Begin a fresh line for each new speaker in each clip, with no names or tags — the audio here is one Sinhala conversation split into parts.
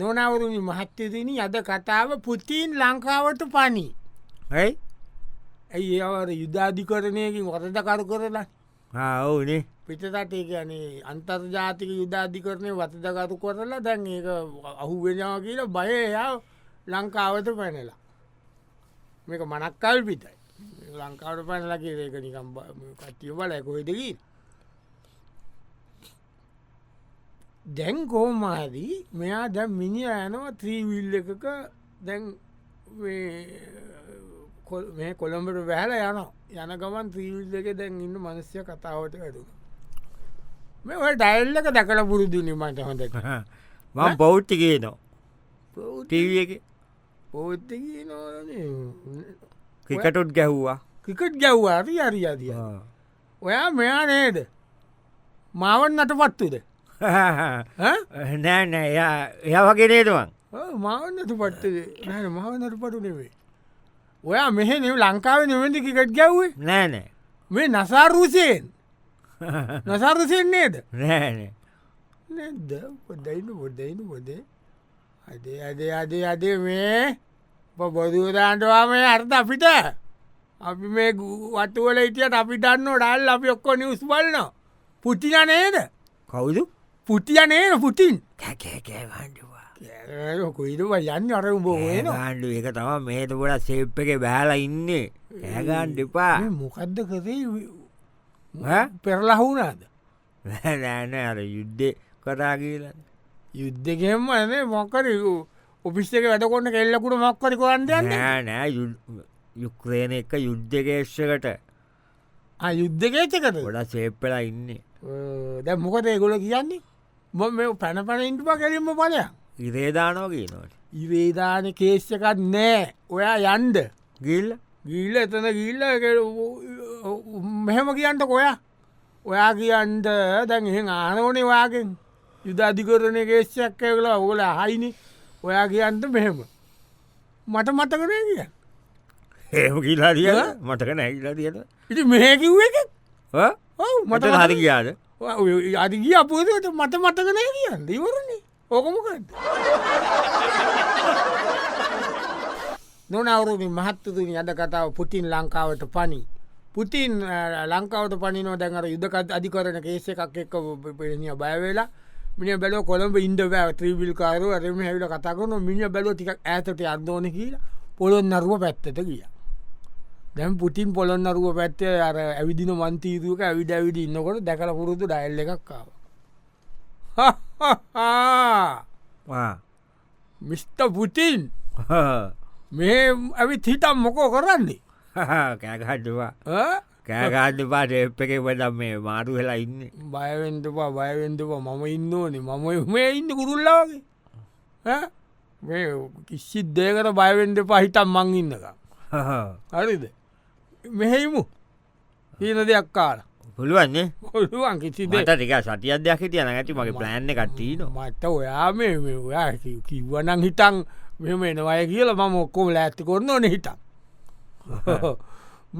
නොනවරුණි මහත්තතින අද කතාව පුතින් ලංකාවට පනී
ඇයි
ඇයි ඒවර යුද්ධාධිකරණයකින් වරදකරු කරලා
ආවනේ
පිටතටේ ගැනේ අන්තර්ජාතික යුද්ධාධිකරණය වතදකරු කරලා දැන් ඒක අහුවෙනවා කියලා බය එයා ලංකාවට පැනලා මේක මනක්කල් පිටයි ලංකාවට පැනලා කියරේක නිකම් කට්ටිය බල කොයිදකී දැන් කෝමාදී මෙයා දැ මිනි යනවා ත්‍රීවිල් එකක දැන් කොල්- මේ කොළඹට වැහල යන යන ගමන් ත්‍රීවිල් එක දැන් ඉන්න මනස්්‍ය කතාවට වැඩුණ මෙ ඩයිල්ලක දැකල පුරුදුනි මට හොඳක
මං පෞච්චිගේ නො ටීව එක
පෝත්ත නෝ
ක්‍රිකටුත් ගැහ්වා
ක්‍රිකට් ගැව්වාරි අරි අදිය ඔයා මෙයා නේද මාවන් නට පත්තුද
නෑ නෑ එයා- එයා වගේ නේතුවන්
මාවන්නට පට්ටද නෑ මහවන්නට පටු නෙවේ ඔයා මෙහ නෙව ලංකාව නිවෙන්ට ක්‍රිකට් ගැව්වේ
නෑනෑ
මේ නසාරුසයෙන් නසාරුසයෙන් නේද
නෑනෑ
නැද්ද පොඩ්ඩයින්න පොඩ්ඩයින්න පොදේ අදේ අදේ අදේ අදේ මේ බොදුවදාන්ටවාම අර්ථ අපිට අපි මේ වතුවල ඉටියට අපිටන්න ඩල් අපි ඔක්කො නිවස් බලන පුතින නේද
කවුදු
පුතිය නේද පුතින්
කැකෑකෑහන්ඩවා
කොයිටම යන්න අර උඹෝන
ආණ්ඩු එක තම මේතකොට සේප් එක බෑලා ඉන්නේ ඇගන් දෙපා
මොකක්ද කරේ පෙරලහුුණාද
නෑන අර යුද්ධ කතා කියලා
යුද්ධකෙම ඇනේ මොකර ඔපිස්සක වැටකොන්න කෙල්ලකුට මක්කරි කොන්දන්න
නෑ යුක්්‍රේණ එක යුද්ධකේශ්කට
යුද්ධකේචකත
ගොඩ සේප්පලා ඉන්නේ
දැ මොකද ඒගොල කියන්නේ මො මේ පැනපන ඉන්ටුප කරින්ම පලය
ඉරේදානෝ කියනවට
ඉවේධාන කේශ්‍යකත් නෑ ඔයා යන්ද
ගිල්
ගිල්ල එතන ගිල්ල මෙහෙම කියන්ට කොයා ඔයා කියන්ට දැන් එහෙ ආනෝනේ වාගෙන් යුදාධිකරණය කේශ්‍යයක් කලා ඕල හයිනි ඔයා කියන්ට මෙහෙම මට මතකනය කිය
ඒම කියලා දිය
ඈ?
මටක නැකිලා තියෙන
ඉති මෙහැකිව් එක ඔව්
මට
මට
හරි කියාද
අරිගිය අපූදට මට මතකනය කියන්න ඉවරන්නේ ඕකමකට නොනවරුගේ මහත්තතුනි අද කතාව පුතින් ලංකාවට පනි පුතින් අ, ලංකාවට පනිනෝ දැන්ර යුදකත් අධිකරන කේස එකක් එක්ක පෙරනිය බයවෙලා මිනි බැලෝ කොළඹ ඉන්ඩවෑ ත්‍රීවිල්කාරු ඇරම හැවිල කතාකරන මිනි බැලෝ ටික් ඇතට අර්දෝන කියලා පොළොන් නරුව පැත්තට ගිය දැම් පුතින් පොළොන්නරුව පැත්තේ අර ඇවිදින මන්තීරුවක ඇවිඩ ඇවිඩි ඉන්නකොට දැකල පුරුතු ඩයිල් එකක්කාව මිස්ට පුතින් මේ ඇවි හිතම් මොකෝ කරන්නේ
කෑකටවා
ඈ?
කෑකාඩ පාට එප් එක වඩම් මේ මාරු වෙලා ඉන්න
බයවෙන්ටපා බයවෙන්ටපා මම ඉන්න ඕනේ මම මේ ඉන්න කුරුල්ලාගේ ඈ? මේ කිසිත් දේකට බයවෙන්ට පහිතම් මං ඉන්නක හරිද මෙහෙයිමු හීන දෙයක් කාල
පුළුවන්නේ
ඔළුවන් කිසිදේ
මට ටික සටියත් දෙයක් තියන ඇති මගේ ප්ලෑන්න කට්ටීන
මට ඔයා මේ මේ ඔයා කි- කිව්වනං හිතන් මෙම එනවය කියල මම ඔක්කොම ඇත්ති කොන්න ඕන හිතන්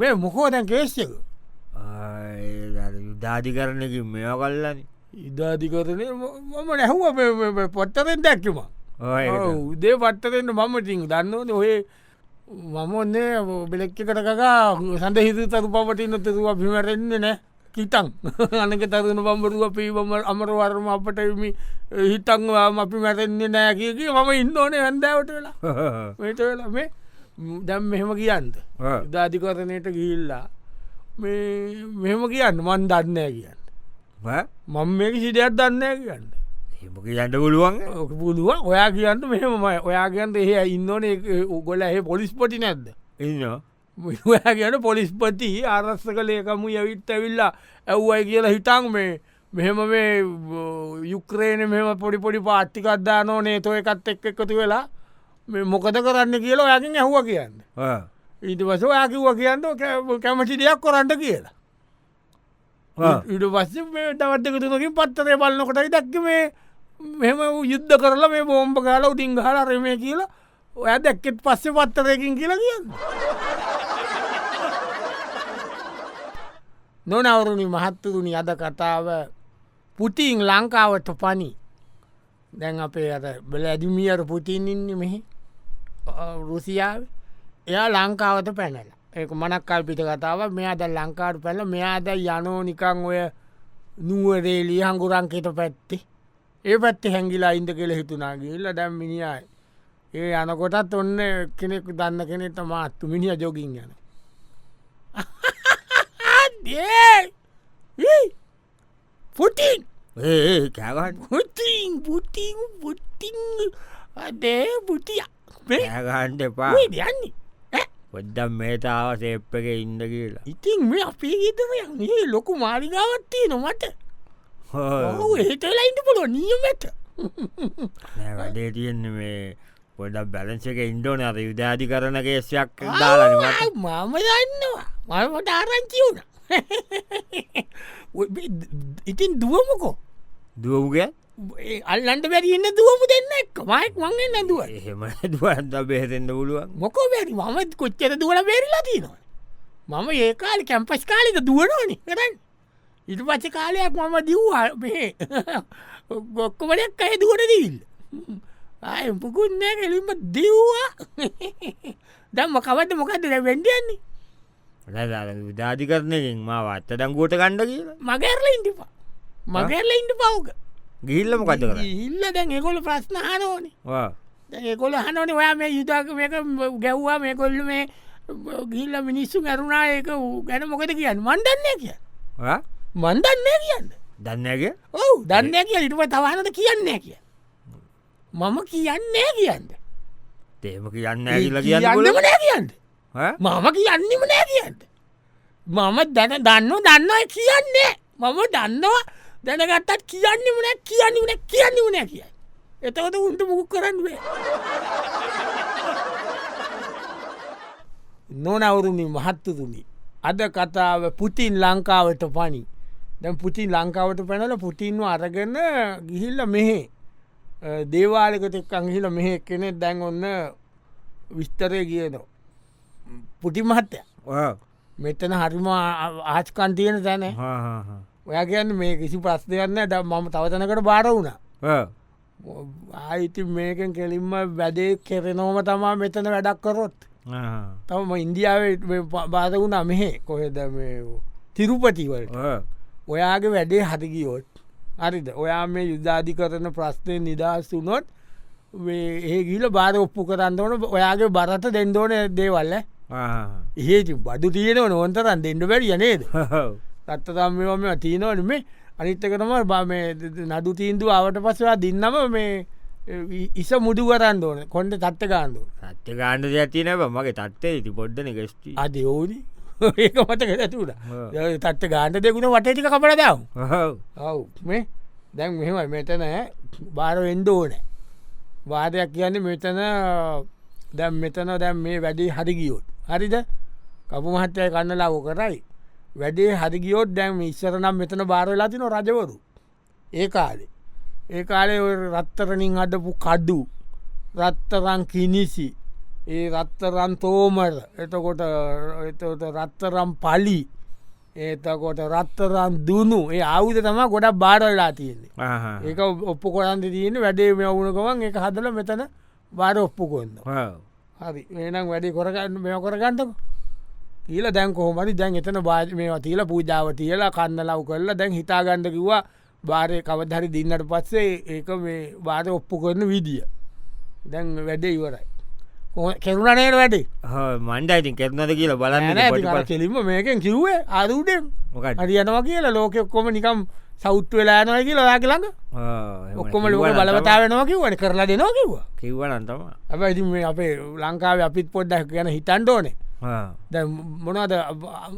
මේ මොකෝ දැන් කේශ්ක
යුද්ධාධිකරණකින් මෙය කල්ලන
ඉදාධිකරනය මම නැහුව පොත්තතෙන් දැක්කම උදේ පත්තතෙන්ට මම ටිං දන්නවන ඔය මම ඔන්නේ බෙලෙක්්ච කරකකා සඳ හිත තරු පවටින්න තරුව පිමරෙන්න්නේ නෑ හිතන් අනක තරුණ පම්බරුව පීවම අමරවර්ම අපට එමි හිතන්වාම අපි මැරෙන්න්නේ නෑකගේ මම ඉන්න ඕනේ ඇන්දෑවට වෙලා මේට වෙලා මේ දැම් මෙහෙම කියන්ද ධාධිකරණයට ගිහිල්ලා මේ මෙහෙම කියන්න මන් දන්නෑ කියන්න මං මේක සිටයක් දන්නෑ කියන්න
හෙමක යන්න පුළුවන්
ඕක පුදුව ඔයා කියන්න මෙහෙමයි ඔයා කියන්ට එහ ඉන්නන උගොල එහ පොලිස්පටි නැද්ද
ඉන්නවා
ඔයා කියන පොලිස්පති ආරස්සක ලේකමු යවිත් ඇවිල්ලා ඇව්වයි කියලා හිටන් මේ මෙහෙම මේ යුක්්‍රේණ මෙම පොඩි පොඩි පාට්ටිකක්දා නෝනේ තොය එකත් එක් එකතු වෙලා මේ මොකද කරන්න කියලා ඔයාකින් ඇහුව කියන්න
ඔව්.
ඊට පස ඔයාකිව කියන්න කැ- කැමති දෙයක් කොරන්න කියලා
ඔව්.
ඉඩ පස්ස දවටක තුනකින් පත්තරය බලන්නකොටයි දක්ක මේ මෙම යුද්ධ කරලා මේ බෝම්ප කාලා උටින් හල රමය කියලා ඔය දැක්කෙත් පස්සෙ පත්තරයකින් කියලා කියන්න නොනවරුණි මහත්තතුනි අද කතාව පුතින් ලංකාවට පනි දැන් අපේ අත බල ඇදිමියට පුතින්ඉන්න මෙහි රුසියාව එයා ලංකාවට පැනල ඒක මනක්කල් පිට කතාව මෙයාද ලංකාට පැල මෙයාද යනෝ නිකං ඔය නුවරේ ලියහංගුරංකෙට පැත්තේ ඒ පැත්ති හැඟිලා ඉන්ද කෙළ හිතුනාගේල්ල දැම් මිනිියයි ඒ යනකොටත් ඔන්න කෙනෙක් දන්න කෙනෙට මාත්තු මිනිිය ජොගින් යන පුටින්
ඒ කෑගන්න
පුටින් පුටින් පුටින් අදේ පුටිය මේ
කෑගන්න එපා
දයන්නේ
පොද්දම් මේතාව සේප් එක ඉන්න කියලා
ඉතින් මේ අපේ ගතම යන්නේ ලොකු මාරිගාවත්තේ නොමට ඔහු ඒතලයින්ට පුලො නියම ඇත
නෑ වැඩේ තියෙන්නේ මේ පොඩක් බැලන්ස එක ඉන්ඩෝන අර යුදාධි කරන කේසයක් දාලනට
මම දන්නවා මමට ආරංචි වුණ ඉතින් දුවමකෝ
දුවගේ
ඒ අල්ලන්ට බැරින්න දුවම දෙන්න එක් මයෙක් මංගෙන් නැදුව
එහෙම දුවන්ද බේරෙන්න්න පුළුවන්
මොකෝ බැරි මම කොච්චර දුවල බැරිලාදී නොන මම ඒ කාලි කැම්පස් කාලික දුවනෝනි කරන්න ඉට පච කාලයක් මම දව්වා මේ ගොක්කොමටක් අය දුවන දීල් ආය පුකුන්නෑ කෙලින්ම දව්වා දම්ම කවට මොකද වැඩියන්නේ
විධාධි කරනකින් මාව අත්ත ඩංගුවට කණ්ඩ කියලා
මගැරල ඉන්ටිපා මගැරල ඉන්ට පව්ග
ගිල්ලම කත කර
ඉල්ල දැන් එකොල ප්‍රශ්න හනෝනේ ඒකොල හනන ඔයා මේ යුතාක මේක ගැව්වා මේ කොල්ල මේ ගිල්ල මිනිස්සු ඇරුණා ඒක ඌ ගැන මොකද කියන්න මන්දන්න කිය මන්දන්න කියන්න
දන්නගේ
ඔවු දන්න කිය ඉටුව තවහනට කියන්නේ කිය මම කියන්නේ කියන්න
තේම කියන්න කියලා කියන්න
කියන්නම නෑ කියන්න මම කියන්නෙම නෑ කියන්න මම දැන දන්න දන්නවා කියන්නේ මම දන්නවා දැනගත්තත් කියන්නෙම නෑ කියන්නෙම නෑ කියන්නෙම නෑ කිය එතවද උන්ට මුක් කරන්නුවේ නොනවුරුමි මහත්තතුමි අද කතාව පුතින් ලංකාවට පනි දැ පුතින් ලංකාවට පැනල පුතින්ව අරගන්න ගිහිල්ල මෙහේ දේවාලකතෙක් අංහිල මෙහෙ කෙනෙ දැන් ඔන්න විස්තරය කියනවා පුටි මහත්තය මෙතන හරිම ආච්කන් තියෙන තැන ඔය කියන්න මේ කිසි ප්‍රස්ථයන්න ද මම තවතනකට බාර වුණ ආයිති මේකෙන් කෙලින්ම වැඩේ කෙරෙනෝම තමා මෙතන වැඩක් කරොත් තම ඉන්දියාවේ බාද වුණා මෙහෙ කොහෙද මේ තිරුපතිවලට ඔයාගේ වැඩේ හරිගියෝත් හරිද ඔයා මේ යුද්ධාධි කරන ප්‍රශ්නය නිදහස්සුනොත් ඒ ගිල බාර ඔප්පු කරන්නවන ඔයාගේ බරත දෙන්දෝන දේවල්ල ඒ බඩු තියෙන නොවන්තරන් දෙන්න බැරි යනේද තත්තතම් මෙම තියනවන මේ අනිත්තකටම බම නඩු තීන්දු අවට පසවා දින්නම මේ ඉ- ඉස මුඩු කරන්න ඕන කොන්ට තත්ත ගාන්දුව
සත්‍ය ගාණ්ඩ යතින මගේ තත්තේ ඉති පොඩ්ඩන ගෙස්ටි
අද ඕනි ඒක මතක නැතුට තත්ත ගාන්ට දෙකුණ වටටික කපට දම් ඔව් මේ දැන් මෙහෙම මෙතන බාර වෙන්ඩ ඕනෑ වාදයක් කියන්නේ මෙතන දැම් මෙතන දැම් මේ වැඩේ හරිගියොත් හරිද කපු මහත්තය කන්න ලාව කරයි වැඩේ හරිගියොත් දැම් ඉස්සර නම් මෙතන බාරවෙලා තින රජවරු ඒ කාලේ ඒ කාලේ ඔය රත්තරණින් අඩපු කඩු රත්තරන් කිනිසි ඒ රත්තරන් තෝමර එතකොට එතකොට රත්තරම් පලි ඒතකොට රත්තරන් දුුණු ඒ අවුද තම ගොඩක් බාරවෙලා තියෙන්නේ ඒක ඔප්පු කොරන්ද තියෙන වැඩේ මෙවුණකමන් එක හදල මෙතන බාර ඔප්පු කොන්න හරි එනම් වැඩි කොරගන්න මෙ කොරගන්නක කියල දැන් කොහොමරි දැන් එතන බාජ මේවා තියල පූජාව තියලා කන්න ලව් කරලා දැන් හිතාගන්න කිව්වා බාරය කවදහරි දින්නට පස්සේ ඒක මේ බාර ඔප්පු කරන විදිිය දැන් වැඩේ ඉවරයි කෙරුණනයට වැඩේ
මණ්ඩ ඉතින් කෙරනද කියලා බලන්න
නෑ නෑ ඉතින් අර කෙලින්ම මේකෙන් කිව්වේ අරුඩෙන්
මොකට
හරියනවා කියලා ලෝක ඔක්කොම නිකම් සෞට් වෙලා යනවා කියලා ඔයා කියලඟ ඔක්කොම ලෝක බලවතාවෙනවා කිව්වන කරලා දෙනවා කිව්වා
කිව්වනන්තම
ඇබ ඉති මේ අපේ ලංකාව අපිත් පොඩ්ඩක් ගැන හිතන්ඩ ඕනේ දැ මොනාද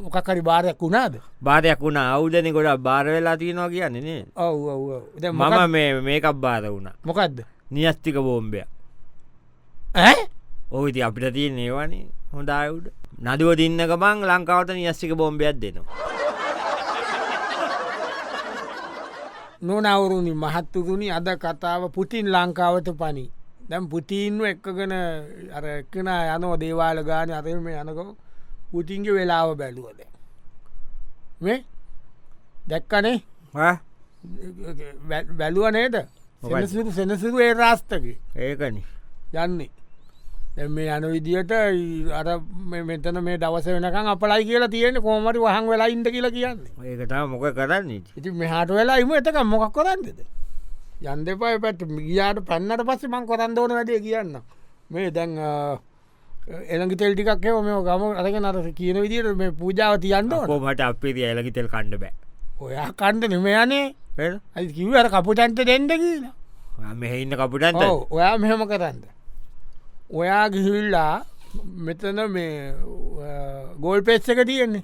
මොකකරි භාරයක් වුණාද
බාරයක් වුණ අවුදන ගොඩ බාරවෙලා තියෙනවා කියන්නේනේ
ඔව
මම මේ මේකක් බාර වුණ
මොකක්ද
නිියස්තික බෝම්බය
ඇ
ඕවිති අපිට තිය ඒවානේ හොඳයුට නදුව දින්නක බං ලංකාවට නිියස්තික බෝම්බයක් දෙනවා
නොනවුරුණි මහත්තුරුණි අද කතාව පුතින් ලංකාවට පනි දැම් පුතිීන්ව එක්කගෙන අරක්කෙන යනෝ දේවාල ගාන අරම යනක පුතින්ගේ වෙලාව බැලුවද මේ දැක්කනේ බැලුව නේද
මොකද්ද?
සෙනසුරු සෙනසුරු ඒ රාස්ථකේ
ඒකන
යන්නේ දැන් මේ යන විදිහට ඊ- අර මේ මෙතන මේ දවස වෙනකම් අපලයි කියලා තියෙන කෝමරි වහන් වෙලා ඉන්ද කියලා කියන්නේ
ඒකතා මොක කරන්නේ
ඉති මෙහාට වෙලා ඉම එතක මොකක් කොරන්නද යන්දපය පැත් මිගියාට පැන්නට පස්සේ මං කොරන් ඕන වැඩේ කියන්න මේ දැන් එළඟි තෙල්ටිකක් එව මේ ගම අරක නර කියන විදිට මේ පූජාව තියන්න ඕන.
කෝමට අපේ ඇලකිතෙල් කණ්ඩ
ඔයා කණ්ඩ නිමයනේ
බෑ
ඇ කිව් අර කපුටන්ට දෙන්න කියලා
මෙහෙඉන්න කපුටන්ට
ඔව්, ඔයා මෙහෙම කරන්න ඔයා ගිහිල්ලා මෙතන මේ ගෝල් පෙස් එක තියෙන්නේ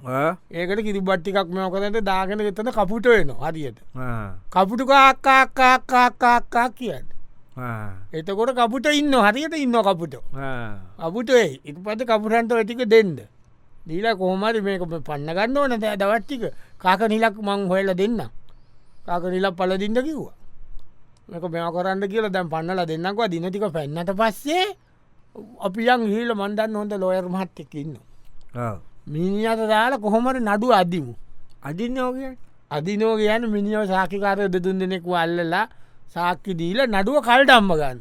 ඒකට කිරිබට්ටිකක් මෙමකරට දාගෙන එතන කපුට වෙන හරියට කපුටු කාක්කාක්කාක්කාක්කා කියන්න එතකොට කපුට ඉන්න හරියට ඉන්න කපුට අපුට ඉට පත කපුරන්ට ටික දෙන්න දීලා කොහමරි මේක පන්න ගන්න ඕන දෑ දවට්ටික කාක නිලක් මං හොයල දෙන්න කාක නිලක් පලදින්න කිව්වා මේක මෙ කරන්න කියලා දැම් පන්නල දෙන්නක්වා දිනතික පැන්නට පස්සේ අපියන් හිල මන්දන්න හොඳ ලොයර් මහත්තෙක් ඉන්න මිනිියත දාලා කොහොමට නඩු අදිමු
අදින්නෝග
අදිනෝ කියන මිනිියව සාකිකාරය දෙදුන් දෙනෙක් වල්ලලා සාක්කි දීල නඩුව කල්ට අම්ම ගන්න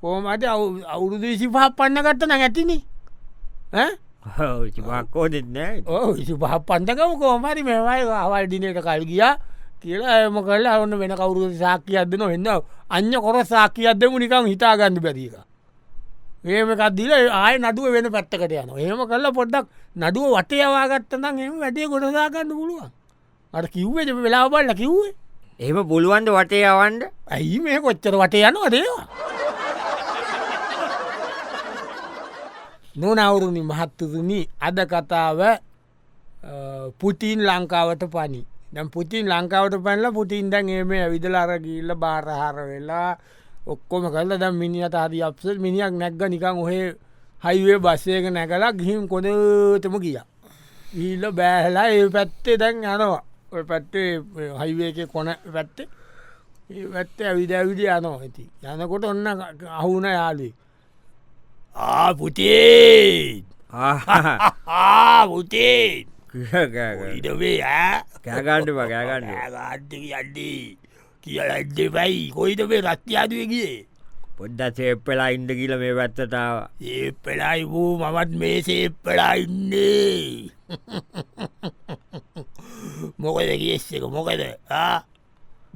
කෝමට අවුරුදු විසිපහ පන්න කටන ඇතිනේ ඈ?
චිපක්කෝ දෙන්න
ඕ විසිපහ පන්තකම කෝමරි මෙවයි අවල් දිනයට කල් ගිය කියලා එම කල ඔන්න වෙන කවුරු සාක්කයක් දෙන වෙන්න අන්න කොර සාක්කයක් දෙමු නිකං හිතාගන්න බැදීක ඒමකක්දිල ආය නඩුව වෙන පැත්තකට යන ඒම කල්ලා පොඩ්ඩක් නඩුව වටයවාගත්තනම් එම වැඩේ ගොඩදාගන්න පුළුවන් අට කිව්වේ වෙලාබල්ල කිව්වේ
එහම පුළුවන්ද වටේ අවන්ඩ
ඇයි මේ කොච්චර වට යනවා දේවා නොනවුරුණි මහත්තතුනි අද කතාව අ, පුතින් ලංකාවට පනි දැම් පුතින් ලංකාවට පැල්ල පුතින් දැන් ඒ මේ ඇවිදල අරගිල්ල බාරහර වෙලා ඔක්කොම කල්ල දැම් මිනිිය තාරි අපසල් මිනිියක් නැක්ග නිකං ඔහේ හයිවේ බස්සයක නැකලා ගිහිම් කොනතම කියා ඊල්ල බෑහලා ඒ පැත්තේ දැන් යනවා ඔය පැත්තේ හයිවේක කොන පැත්තේ ඒ පැත්ත ඇවිද ඇවිද යනවා ඇති යනකොට ඔන්න අහුන යාලි ආ පුතේ ආ පුතේ ඉඩවේ
කෑගාණ්ඩ පගෑගන්න
ආගාට්ටක යන්නේ කියලඩ්ඩෙපයි කොයිද මේ රස්්‍යාදුව ගියේ
පොඩ්ඩ සේප්පලා ඉන්ඩ කියල මේ පැත්තතාව
ඒ පෙලයි වූ මමත් මේ සේප්පලා ඉන්නේ මොකද කියෙස්සක මොකද ආ?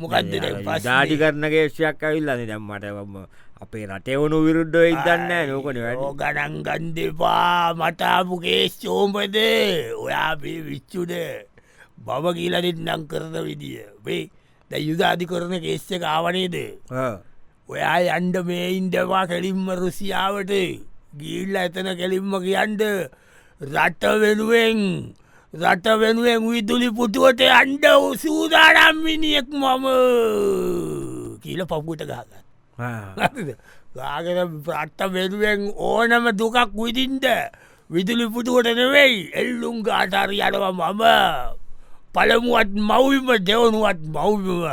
මොකක්ද දැන්
දාඩි
ප්‍රශ්නේ?
කරනගේ ශයක් ඇවිල්ලන්නේ දැම්මටම අපේ රටවුණු විරුද්ධ ඉදන්න නෝකන වැඩ
ගණන්ගන්දපා මටාපුගේ ශෝම්පද ඔයා මේ විච්චුද බව කියලනින්නම් කරන විදිිය වේ දැ යුදාධි කරන කේස්්‍ය කාවනේද ඔයා යන්ඩ මේ ඉන්ඩවා කෙලින්ම රුසියාවට ගිල්ල එතන කෙලින්ම කියන්ඩ රට වෙනුවෙන් රට වෙනුවෙන් විදුලි පුටුවට අන්ඩ සූදානම් මිනිියෙක් මම කියල පපුට ගාගන්න නතිද? ගාගෙන ප්‍රට්ට වෙනුවෙන් ඕනම දුකක් විදින්ට විදුලි පුටුවට නෙවෙයි එල්ලුම් ගාටාරි අඩව මම පළමුුවත් මවවිම දෙවනුවත් මවවිම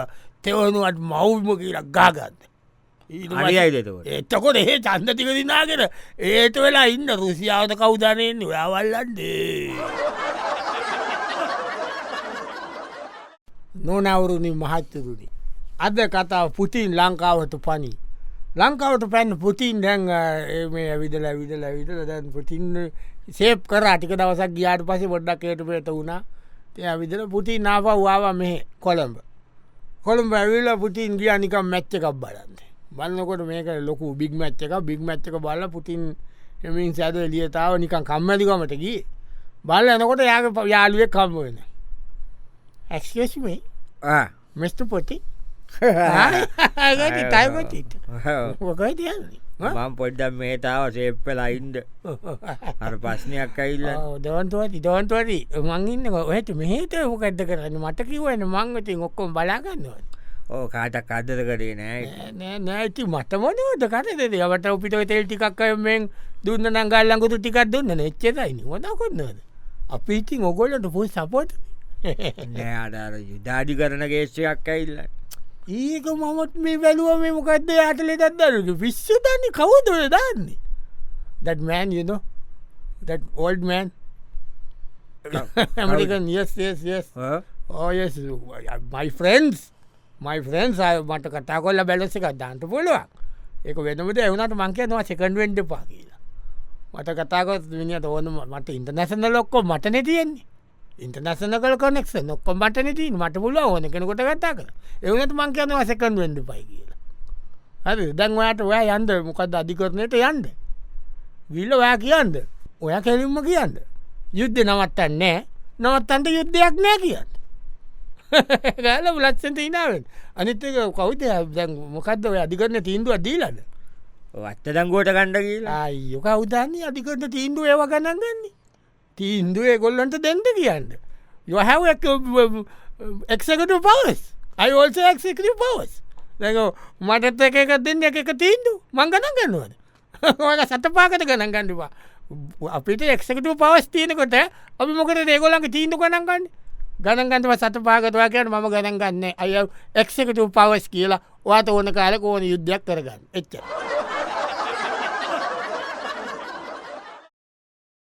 තෙවනුවත් මවවිම කියලා ගාගන්න. ඊට පස්සේ-
හරියිදතවට
එතකොට ඒ චන්දතික දිනාගෙන ඒට වෙලා ඉන්න රුසියාවත කවධනයෙන් ඔයාවල්ලන්දේ. නොනවුරුණි මහත්තරුණි. අද කතාව පුතින් ලංකාවට පනි. ලංකාවට පැන් පුතින් දැන් මේ ඇවිදල ඇවිදල ඇවිදල දැන් පුතින් සේප් කර අටික දවසක් ගියාට පසේ බොඩ්ඩක් ඒට පේට වුණා තය ඇවිදල පුතින් නාපවාවා මෙහෙ කොළඹ. කොළඹ ඇවිල්ල පුටින් ගිය නිකම් මැච්ච එකක් බලන්න බලන්නකොට මේක ලොකු බික් මැච්ච එක බික් මැච්ච එක බල පුටින් එමින් සැද එලියතාව නිකම් කම්මැලිකමටකි බල එනකොට යාග යාලුවේ කම්ම වෙන ඇක්ස්මේ මෙස්ට පොටි තයිපොටිට මොකයි තියන්නේ
මම් පොඩ්ඩම් මේතාව සේප්පලා ඉන්ඩ අර පස්්නයක් ඇල්ල
දොන්තුවති දොන්තුවරි මංඉන්න ඔහට මෙහේත හොකඇද කරන්න මට කිවන මංගතින් ඔක්කොම් බලාගන්නවා
ඕ කාටක් අදද කරේ නෑ
නෑ නෑති මටමනෝද කරද යට උපිට තෙල් ටිකක්කයෙන් දුන්න නංගල්ලඟුතු ටිකක් දුන්න එච්චරයිනි හොද කොන්නද අපි ඉතින් ඔගොල්ලට පොයි සපොට්
නෑ අඩාර යුදාඩි කරන ගේේෂයක් ඇල්ල
ඒක මමත් මේ වැලුව මේ මොකක්ද අටලේ දත්දරක විශ්ෂ දන්නේ කවුදොල දන්නේ දැත් මෑන් යන දැත් ඔල්ඩ මෑන් Oh, ඇමරිකන් යස්යස් ඕය මයි ෆරන්ස් මයි ෆ්‍රන්න් සය මට කතා කොල්ල බැලස එකක් දාන්ට පුළුවන් ඒක වෙනමට එවුණට මංකයනවා සකන්ඩුවෙන්ඩ පා කියලා මට කතාකොත් විනිිය ඕන මට ඉන්ටනැසන ලොක්කෝ මටන තියෙන්නේ ඉන්ටනැසන කල කොනෙක් නොක්කොම් මටන තින් මට පුල ඕන කෙනකොට කතා කර එවනට මංකයනවා සකන්ඩුවෙන්ඩ පයි කියලා හරි දැන් ඔයාට ඔයා යන්ද මොකද අධිකරණයට යන්ද ගිල්ල ඔයා කියන්ද ඔය කෙලින්ම කියන්ද යුද්ධ නවත්තන්නේ නවත්තන්ට යුද්ධයක් නෑ කියන්න ගෑල ලත්සට ඉනාවෙන් අනිත්තක කවුත දැන් මොකක්ද ඔය අධිකරන තීන්දුව දීලද
වත්තදංගුවට කණ්ඩ කියලා
අයෝ කවධානී අධිකරට තීන්දුව ඒව ගණන්ගන්නේ තීන්දුව ගොල්ලන්ට දෙන්ට කියන්න යොහැව එක්සකට පවස් අයිෝල්ක්කල පවස් දැක මටත් එක එක දෙන්න එක එක තීන්දු මංගනන් ගන්නුවද ඕක සතපාකට ගණන් ගඩුවා අපිට එක්සකට පවස් තියනකොට අපි මොකට දේගොලන්ගේ තීන්දු ගණන්ගන්න ගණන්ගන්නව සතපාගතවා කියන මම ගණන් ගන්න අය එක්සකට පවස් කියලා වාත ඕන කාලක ඕන යුද්ධයක් කරගන්න එච්චර.